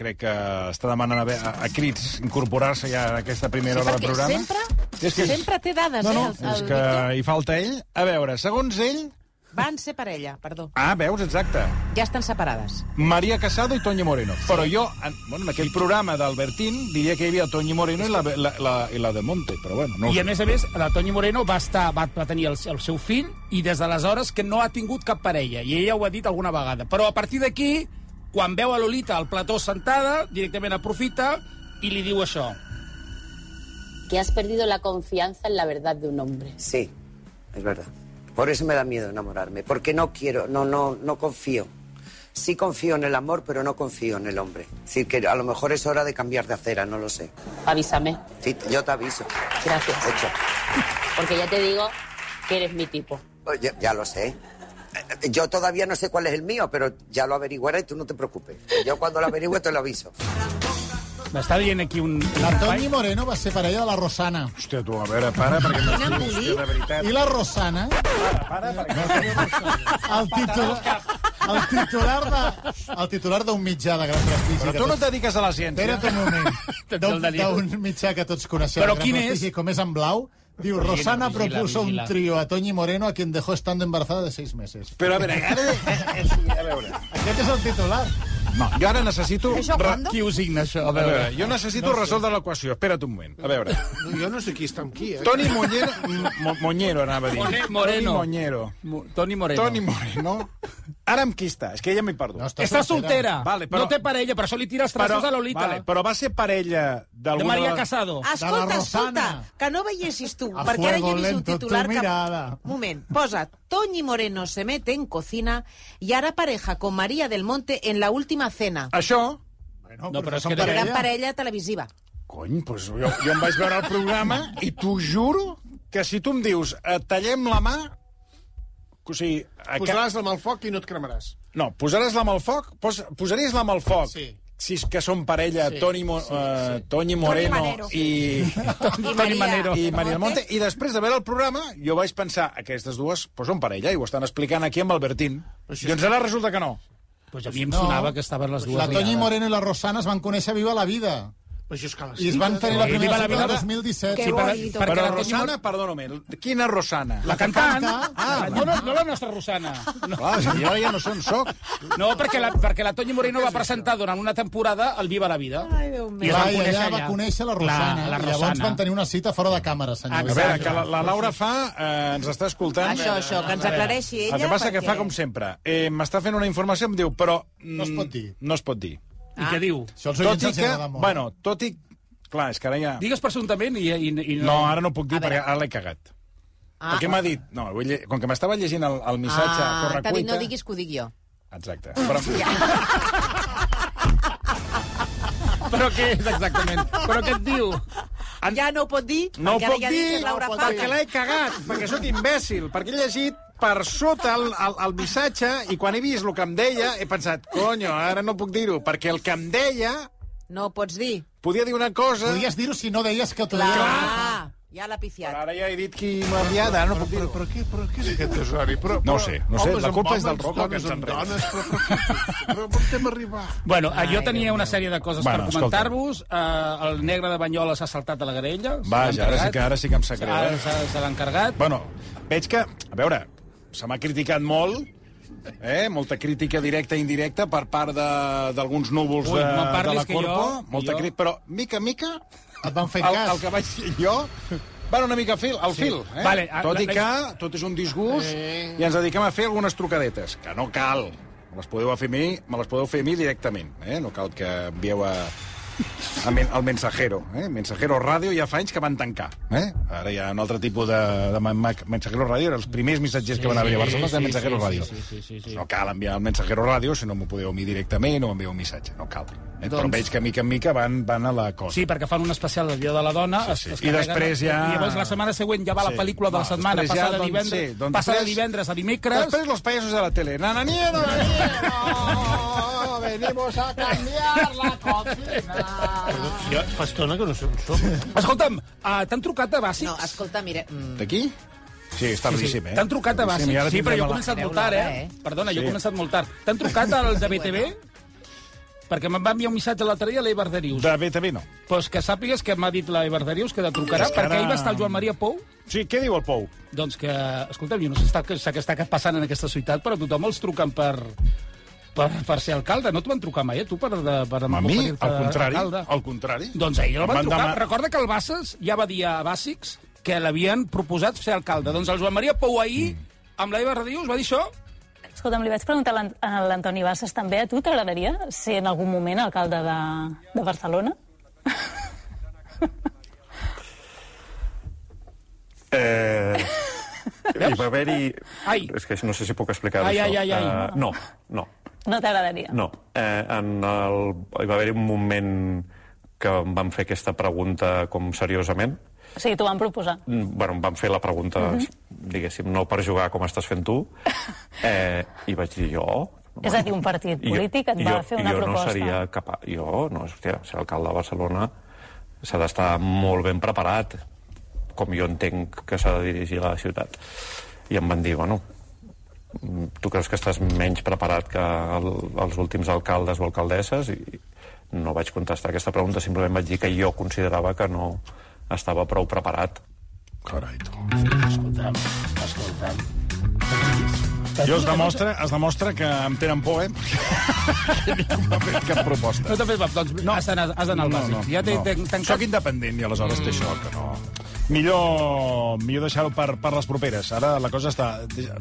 Speaker 1: crec que està demanant a, ve- a, a crits incorporar-se ja en aquesta primera hora del
Speaker 6: Perquè
Speaker 1: programa.
Speaker 6: sempre,
Speaker 1: És que-
Speaker 6: sempre té dades,
Speaker 1: No, no,
Speaker 6: eh, el,
Speaker 1: és
Speaker 6: el
Speaker 1: que
Speaker 6: Víctor.
Speaker 1: hi falta ell. A veure, segons ell...
Speaker 6: Van ser parella, perdó.
Speaker 1: Ah, veus, exacte.
Speaker 6: Ja estan separades.
Speaker 1: María Casado i Toñi Moreno. Però jo, en, bueno, en aquell programa d'Albertín, diria que hi havia Toñi Moreno i la, la, la, i la de Monte, però bueno, no ho sé.
Speaker 4: I a més a més, la Toñi Moreno va, estar, va, va tenir el, el seu fill i des d'aleshores que no ha tingut cap parella. I ella ho ha dit alguna vegada. Però a partir d'aquí, quan veu a Lolita al plató sentada, directament aprofita i li diu això.
Speaker 11: que has perdido la confianza en la verdad de un hombre.
Speaker 8: Sí, es verdad. Por eso me da miedo enamorarme, porque no quiero, no, no, no confío. Sí confío en el amor, pero no confío en el hombre. Es decir, que a lo mejor es hora de cambiar de acera, no lo sé.
Speaker 11: Avísame.
Speaker 8: Sí, yo te aviso.
Speaker 11: Gracias.
Speaker 8: Hecho.
Speaker 11: Porque ya te digo que eres mi tipo.
Speaker 8: Pues Ya, ya lo sé. Eh, Yo todavía no sé cuál es el mío, pero ya lo averiguaré, tú no te preocupes. Yo cuando lo averigüe te lo aviso.
Speaker 4: M'està dient aquí un...
Speaker 9: La Toñi Moreno va ser parella de la Rosana.
Speaker 1: Hòstia, tu, a veure, para, perquè...
Speaker 6: Quin embolic.
Speaker 1: De veritat.
Speaker 9: I la Rosana,
Speaker 1: Para, perquè...
Speaker 9: el titular... El titular de, el titular d'un mitjà de gran prestigi.
Speaker 1: Però
Speaker 9: que
Speaker 1: tu no
Speaker 9: tots-
Speaker 1: et dediques a la ciència.
Speaker 9: Espera't un moment.
Speaker 4: Tens el
Speaker 9: D'un-
Speaker 4: delirio.
Speaker 9: D'un mitjà que tots coneixem.
Speaker 4: Però
Speaker 9: de gran
Speaker 4: quin
Speaker 9: prestigi,
Speaker 4: és?
Speaker 9: Com és en blau, diu, Rosana
Speaker 4: vigila,
Speaker 9: propuso
Speaker 4: vigila.
Speaker 9: un trío a Toñi Moreno a quien dejó estando embarazada de seis meses.
Speaker 1: Però a veure, ara... eh, eh, A veure...
Speaker 9: Aquest és el titular.
Speaker 1: No, jo ara necessito...
Speaker 7: Això
Speaker 1: re-
Speaker 7: quan?
Speaker 4: Qui ho signa, això?
Speaker 1: A veure, jo necessito resoldre l'equació. Espera't un moment. A veure.
Speaker 10: No, jo no sé qui està amb qui, eh?
Speaker 1: Toni Moñero... Mo Moñero, anava a dir.
Speaker 4: Mone- Moreno.
Speaker 1: Toni Moñero.
Speaker 4: Mo- Toni Moreno.
Speaker 1: Toni Moreno. Ara amb qui està? És que ja m'he perdut.
Speaker 9: No, està
Speaker 4: Està soltera.
Speaker 1: Vale, però-
Speaker 4: No té parella, per això li tira els traços a Lolita.
Speaker 1: Vale, però va ser parella
Speaker 4: De
Speaker 1: d'alguna...
Speaker 4: María
Speaker 1: de-
Speaker 4: Casado.
Speaker 9: De
Speaker 6: Escolta,
Speaker 9: la
Speaker 6: escolta,
Speaker 9: Rosana.
Speaker 6: que no veiessis tu,
Speaker 9: A
Speaker 6: perquè ara
Speaker 9: fuego
Speaker 6: hi he vist un
Speaker 9: lento, tu
Speaker 6: titular que...
Speaker 9: mirada.
Speaker 6: Moment, posa Toñi Moreno se mete en cocina y hará pareja con María del Monte en la última cena.
Speaker 1: Això...
Speaker 9: Bueno,
Speaker 4: No, però és
Speaker 9: són
Speaker 4: que era-
Speaker 6: Gran
Speaker 9: parella.
Speaker 6: parella televisiva.
Speaker 1: Cony, doncs jo, jo em vaig veure el programa i t'ho juro que si tu em dius eh, tallem la mà... O sigui, a ca-
Speaker 10: Posaràs la mà al foc i no et cremaràs.
Speaker 1: No, posaràs la mà al foc? Pos, posaries la mà al foc?
Speaker 10: Sí.
Speaker 1: Si és que són parella, sí, Toni, Mo, sí, sí. Toni Moreno
Speaker 7: Manero.
Speaker 1: i,
Speaker 6: I
Speaker 4: Toni
Speaker 6: María,
Speaker 4: Manero.
Speaker 1: i Maria del Monte. I després de veure el programa, jo vaig pensar, aquestes dues pues, són parella, i ho estan explicant aquí amb Albertín. Doncs ara resulta que no.
Speaker 4: Pues Doncs a mi em sonava que estaven les dues
Speaker 9: La Toñi
Speaker 4: liades.
Speaker 9: Moreno i la Rosana es van conèixer viva la vida.
Speaker 10: Però això és que les
Speaker 9: I es van tenir la
Speaker 4: Sí,
Speaker 9: primera
Speaker 4: viva la
Speaker 9: cita el
Speaker 4: vida.
Speaker 9: 2017.
Speaker 7: Que
Speaker 9: Sí,
Speaker 4: per-
Speaker 7: bonito.
Speaker 4: perquè
Speaker 1: Però
Speaker 4: la Toñi
Speaker 1: Rosana, perdona-me, quina Rosana?
Speaker 4: La cantant?
Speaker 9: canta.
Speaker 4: Ah, no, no, no la nostra Rosana. No,
Speaker 1: Clar, si jo ja no sé on soc.
Speaker 4: no perquè, la, perquè la Toñi Moreno va presentar durant una temporada el Viva la Vida.
Speaker 6: Ai, Déu meu.
Speaker 4: I
Speaker 9: Va,
Speaker 4: es van
Speaker 9: i
Speaker 4: conèixer
Speaker 9: allà va conèixer la Rosana.
Speaker 4: La, la
Speaker 9: I llavors van
Speaker 4: Rosana.
Speaker 9: tenir una cita fora de càmera, senyor.
Speaker 1: A veure, que la, la Laura fa... Eh, ens està escoltant.
Speaker 6: Això, això, que ens aclareixi ella.
Speaker 1: El que passa que
Speaker 6: perquè-
Speaker 1: fa com sempre. Eh, M'està fent una informació, em diu, però...
Speaker 9: No es pot
Speaker 1: mm,
Speaker 9: dir.
Speaker 1: No es pot dir.
Speaker 4: I
Speaker 6: Ah.
Speaker 4: què diu?
Speaker 9: Això als
Speaker 1: Tot
Speaker 9: oients
Speaker 1: i
Speaker 9: els
Speaker 1: que...
Speaker 9: agrada molt.
Speaker 1: Bueno, tot i... Clar, és que ara ja...
Speaker 4: Digues presumptament i... i, i
Speaker 1: No, ara no puc dir,
Speaker 6: A veure.
Speaker 1: perquè ara l'he cagat. Ah.
Speaker 6: Ah.
Speaker 1: Perquè m'ha dit... No, vull lle- com que m'estava llegint el, el missatge ah,
Speaker 6: Ah, t'ha dit,
Speaker 1: correcuita...
Speaker 6: no diguis que ho dic jo.
Speaker 1: Exacte. Però...
Speaker 4: Però què és exactament? Però què et diu?
Speaker 6: Ja no ho pot dir,
Speaker 1: No ho puc
Speaker 6: perquè ara ja ha dit que
Speaker 1: dir,
Speaker 6: és Laura Fabra.
Speaker 1: perquè l'he cagat, perquè sóc imbècil, perquè he llegit per sota el, el, el missatge i quan he vist el que em deia he pensat, conyo, ara no puc dir-ho, perquè el que em deia
Speaker 6: No ho pots dir.
Speaker 1: podia dir una cosa...
Speaker 9: Podries dir-ho si no deies que t'ho
Speaker 6: Clar,
Speaker 9: deia.
Speaker 6: ja l'ha pifiat.
Speaker 1: Ara ja he dit qui m'ha enviat, ara no puc dir-ho.
Speaker 10: Però què, però què és aquest desori? Però,
Speaker 1: No ho
Speaker 10: però-
Speaker 1: sé, no ho sé,
Speaker 10: homes
Speaker 1: la
Speaker 10: amb
Speaker 1: culpa és del
Speaker 10: homes,
Speaker 1: Rocco que
Speaker 10: dones
Speaker 1: ens
Speaker 10: amb
Speaker 1: enreda.
Speaker 10: dones, Però, però, però on vam arribar?
Speaker 4: Bueno, Ai, jo tenia una sèrie de coses
Speaker 1: Bueno,
Speaker 4: per comentar-vos. Uh, el negre de Banyola s'ha saltat a la garella. se
Speaker 1: Vaja,
Speaker 4: l'ha
Speaker 1: ara sí
Speaker 4: encarregat.
Speaker 1: que- ara sí que em sap greu,
Speaker 4: Ara
Speaker 1: eh?
Speaker 4: Se, se l'ha encarregat.
Speaker 1: Bueno, veig que, a veure, se m'ha criticat molt, eh? molta crítica directa i indirecta per part de- d'alguns núvols
Speaker 4: Ui,
Speaker 1: de,
Speaker 4: no em
Speaker 1: de
Speaker 4: parlis
Speaker 1: la
Speaker 4: que
Speaker 1: Corpo.
Speaker 4: jo- que
Speaker 1: molta
Speaker 4: jo-
Speaker 1: cri- Però, mica en mica,
Speaker 9: Et van fer
Speaker 1: el,
Speaker 9: cas.
Speaker 1: el que vaig dir jo van una mica al fil, al fil eh?
Speaker 4: Vale, a-
Speaker 1: tot i
Speaker 4: la-
Speaker 1: que tot és un disgust i ens dediquem a fer algunes trucadetes, que no cal. Me les podeu fer a mi, me les podeu fer a mi directament, eh? no cal que envieu a El, men- el Mensajero, eh? Mensajero Ràdio ja fa anys que van tancar, eh? Ara hi ha un altre tipus de, de ma- ma- Mensajero Ràdio, eren els primers missatgers que van haver a Barcelona de Mensajero Ràdio.
Speaker 12: sí, sí, sí.
Speaker 1: No cal enviar el mensajero ràdio, si no m'ho podeu mi directament o envieu un missatge, no cal. Eh? Però
Speaker 4: Doncs-
Speaker 1: veig que mica en mica van, van a la cosa.
Speaker 4: Sí, perquè fan un especial del Dia de la Dona.
Speaker 1: Sí,
Speaker 4: es-
Speaker 1: sí.
Speaker 4: es
Speaker 1: I
Speaker 4: carreguen-
Speaker 1: després ja-
Speaker 4: I llavors la setmana següent ja va
Speaker 1: Sí.
Speaker 4: la pel·lícula de
Speaker 1: Va,
Speaker 4: la setmana,
Speaker 1: després ja,
Speaker 4: passa de
Speaker 1: doncs,
Speaker 4: divendres,
Speaker 1: sí, doncs
Speaker 4: passa de
Speaker 1: després-
Speaker 4: divendres a dimecres...
Speaker 1: Després los payasos de la tele. Nananía, nananía, Oh, venimos a cambiar la
Speaker 12: Jo fa estona que no som som.
Speaker 4: Escolta'm, uh, t'han trucat a Bàsics?
Speaker 6: No, escolta, mira... mm,
Speaker 1: D'aquí? Sí, està
Speaker 4: sí,
Speaker 1: tardíssim, eh?
Speaker 4: T'han trucat a
Speaker 1: Tardíssim,
Speaker 4: Bàsics?
Speaker 1: i ara
Speaker 4: Sí, però
Speaker 1: tindrem
Speaker 4: jo he
Speaker 1: la-
Speaker 4: començat
Speaker 6: Mireu
Speaker 4: molt tard,
Speaker 6: l'hora,
Speaker 4: eh?
Speaker 6: eh?
Speaker 4: Perdona, jo
Speaker 1: Sí.
Speaker 4: he començat molt tard. T'han trucat al de BTV? Perquè me'n va enviar un missatge l'altre dia a l'Eibar de Rius.
Speaker 1: De BTV no.
Speaker 4: Pues que sàpigues que m'ha dit l'Eibar de Rius que te trucarà,
Speaker 1: És que
Speaker 4: perquè
Speaker 1: ara-
Speaker 4: ahir va estar el Joan Maria Pou
Speaker 1: Sí, què diu el Pou?
Speaker 4: Doncs que, escolta'm, jo no sé està, què està- què està passant en aquesta ciutat, però tothom els truquen per, per, per ser alcalde. No t'ho van trucar mai, eh, tu, per, de, per
Speaker 1: A mi,
Speaker 4: oferir-te
Speaker 1: al contrari,
Speaker 4: alcalde.
Speaker 1: al contrari.
Speaker 4: Doncs ahir el van,
Speaker 1: Em
Speaker 4: trucar.
Speaker 1: demà-
Speaker 4: Recorda que el Bassas ja va dir a Bàsics que l'havien proposat ser alcalde. Doncs el Joan Maria Pou ahir, amb l'Eva Radius, va dir això.
Speaker 13: Escolta'm, li vaig preguntar a l'An- a l'Antoni Bassas també, a tu t'agradaria ser en algun moment alcalde de, de Barcelona?
Speaker 14: Eh, hi va haver-hi... És que no sé si puc explicar
Speaker 13: Ai,
Speaker 14: això.
Speaker 13: ai, ai, ai.
Speaker 14: Eh, no, no,
Speaker 13: No t'agradaria?
Speaker 14: no. Eh, en el... Hi va haver-hi un moment que em van fer aquesta pregunta com seriosament.
Speaker 13: O sigui, t'ho van proposar.
Speaker 14: Mm, Bueno, em van fer la pregunta,
Speaker 13: Mhm.
Speaker 14: diguéssim, no per jugar com estàs fent tu. Eh, I vaig dir jo...
Speaker 13: És a dir, un partit polític et va fer una
Speaker 14: jo Jo
Speaker 13: proposta.
Speaker 14: no seria capaç... Jo, no, hòstia, ser alcalde de Barcelona s'ha d'estar molt ben preparat, com jo entenc que s'ha de dirigir la ciutat. I em van dir, bueno, mm, tu creus que estàs menys preparat que el, els últims alcaldes o alcaldesses? I no vaig contestar aquesta pregunta, simplement vaig dir que jo considerava que no estava prou preparat.
Speaker 1: Carai, tu.
Speaker 4: Escolta'm, escolta'm.
Speaker 1: Jo es demostra, es demostra que em tenen por, eh? Perquè cap proposta.
Speaker 4: No t'ha fet... Doncs no. has d'anar has d'anar al Bàsics. ja t'he t'he tancat.
Speaker 1: Soc independent i aleshores
Speaker 4: Mm.
Speaker 1: té això, que no... Millor, millor deixar-ho per, per les properes. Ara la cosa està...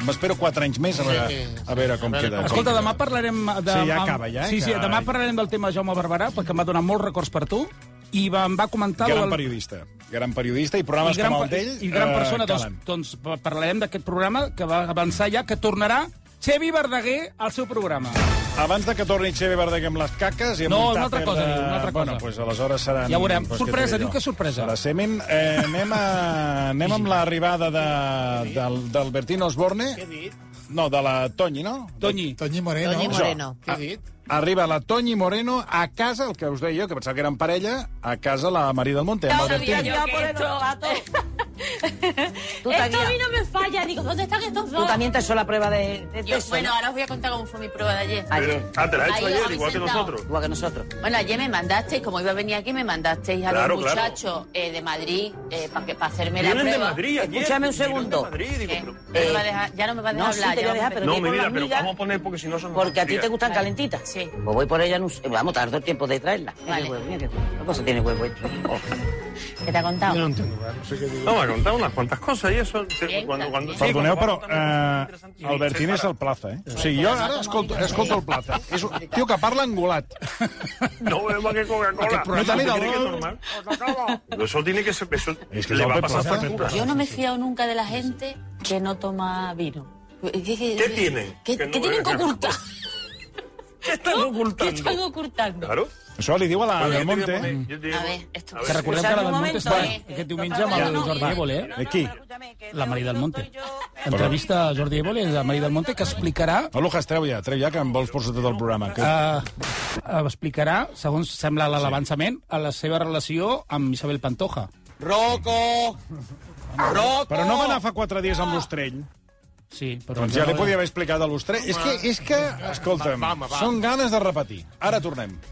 Speaker 1: M'espero 4 anys més a veure, a veure com queda. com
Speaker 4: Escolta,
Speaker 1: queda.
Speaker 4: demà parlarem... De,
Speaker 1: Sí, ja acaba, ja, eh,
Speaker 4: Sí, sí,
Speaker 1: que-
Speaker 4: demà parlarem del tema Jaume Barberà, perquè em va donar molts records per tu, i va, em va comentar...
Speaker 1: Gran
Speaker 4: lo del-
Speaker 1: periodista. Gran periodista i programes
Speaker 4: I gran
Speaker 1: com el
Speaker 4: per-
Speaker 1: d'ell...
Speaker 4: I gran
Speaker 1: eh,
Speaker 4: persona. doncs,
Speaker 1: calen.
Speaker 4: doncs pa- parlarem d'aquest programa que va avançar ja, que tornarà Xevi Verdaguer al seu programa.
Speaker 1: Abans de que torni Xevi Verdaguer amb les caques... I amb
Speaker 4: No,
Speaker 1: un
Speaker 4: una altra
Speaker 1: tàper
Speaker 4: cosa,
Speaker 1: de...
Speaker 4: diu, una altra
Speaker 1: Bueno,
Speaker 4: cosa.
Speaker 1: pues, aleshores seran...
Speaker 4: Ja veurem.
Speaker 1: Pues, què
Speaker 4: Sorpresa,
Speaker 1: t'he dit
Speaker 4: diu
Speaker 1: jo?
Speaker 4: que sorpresa.
Speaker 1: Serà semen. Eh, anem, a, anem amb l'arribada de, del, d'Albertino Osborne. Què dit? No, de la Toñi, no?
Speaker 4: Toñi.
Speaker 1: Toñi
Speaker 9: Moreno.
Speaker 6: Toñi Moreno.
Speaker 1: Això. Què dit? Arriba la Toñi Moreno a casa, el que us deia jo, que pensava que eren parella, a casa la Maria del Monte, amb Albertino.
Speaker 6: Tú
Speaker 11: Esto a mí
Speaker 6: también,
Speaker 11: no me falla. Digo, ¿dónde están estos
Speaker 6: tú
Speaker 11: dos?
Speaker 6: también te has hecho la prueba de, de
Speaker 11: Yo-
Speaker 6: eso,
Speaker 11: bueno,
Speaker 6: ¿no?
Speaker 11: ahora os voy a contar cómo fue mi prueba de ayer.
Speaker 6: Ayer.
Speaker 11: Ah, te la he hecho Ahí ayer, os igual habéis que sentado. nosotros.
Speaker 6: Igual que nosotros.
Speaker 11: Bueno, ayer me mandasteis, como iba a venir aquí, me mandasteis a
Speaker 6: Claro,
Speaker 11: dos
Speaker 6: claro.
Speaker 11: muchachos eh, de Madrid para que para hacerme la
Speaker 6: Vienen de
Speaker 11: prueba.
Speaker 6: Madrid ayer, Escúchame un vienen de segundo. Madrid, digo,
Speaker 11: Eh, no
Speaker 6: pero-
Speaker 11: me
Speaker 6: Eh,
Speaker 11: va a dejar- ya no me va a
Speaker 6: no,
Speaker 11: dejar
Speaker 6: sí
Speaker 11: hablar.
Speaker 6: te
Speaker 11: ya
Speaker 6: voy a
Speaker 11: me
Speaker 6: dejar, pero No, que mi con vida, la pero amiga- vamos
Speaker 11: a poner porque si no son
Speaker 6: Porque a ti te gustan calentitas.
Speaker 11: Sí.
Speaker 6: Pues voy por ella, en un- vamos, tardó tiempo de traerla. Mira
Speaker 11: Vale.
Speaker 6: qué huevo, mira qué huevo. ¿Qué cosa tiene huevo esto?
Speaker 11: ¿Qué te ha contado?
Speaker 6: Yo no
Speaker 11: entiendo.
Speaker 14: No, m'ha contat unes quantes coses i això...
Speaker 11: Quan, quan...
Speaker 1: Perdoneu, però eh, Albertín és el Plaza, eh? O sigui, jo ara escolto, escolto el Plaza. És un tio que parla angulat.
Speaker 14: No bebemos que Coca-Cola.
Speaker 1: No te mira,
Speaker 14: ¿Crees que es
Speaker 1: no.
Speaker 14: normal? Eso tiene que ser... Eso
Speaker 1: Es que
Speaker 14: le
Speaker 1: son
Speaker 14: va a
Speaker 1: de
Speaker 14: pasar
Speaker 1: plaza.
Speaker 14: factura.
Speaker 11: Yo no me he fiado nunca de la gente que no toma vino. ¿Qué,
Speaker 14: ¿Qué tienen?
Speaker 11: ¿Qué,
Speaker 14: Que no-
Speaker 11: qué tienen que ocultar?
Speaker 14: ¿Qué están
Speaker 11: ¿Qué están ocultando?
Speaker 14: Claro.
Speaker 1: Això li diu a la
Speaker 14: Bueno, yo
Speaker 1: del
Speaker 14: te voy
Speaker 1: Monte. eh?
Speaker 14: a poner- yo te digo-
Speaker 11: A ver, esto
Speaker 4: Que recordem que la del Monte està aquest diumenge amb el Jordi Évole. eh?
Speaker 1: Aquí.
Speaker 4: La Maria del Monte. Entrevista a Jordi Évole de Maria del Monte que explicarà
Speaker 1: Olujas, treu ja, treu ja, que em vols posar tot el programa. Que...
Speaker 4: Uh, explicarà, segons sembla l'avançament, a la seva relació amb Isabel Pantoja.
Speaker 1: Rocco! Rocco! Però Ah, no va anar fa quatre dies amb l'Ostrell.
Speaker 4: Sí, però...
Speaker 1: Doncs ja li podia haver explicat a l'Ostrell. És que, és que escolta'm,
Speaker 4: Va, va, va.
Speaker 1: són ganes de repetir. Ara tornem.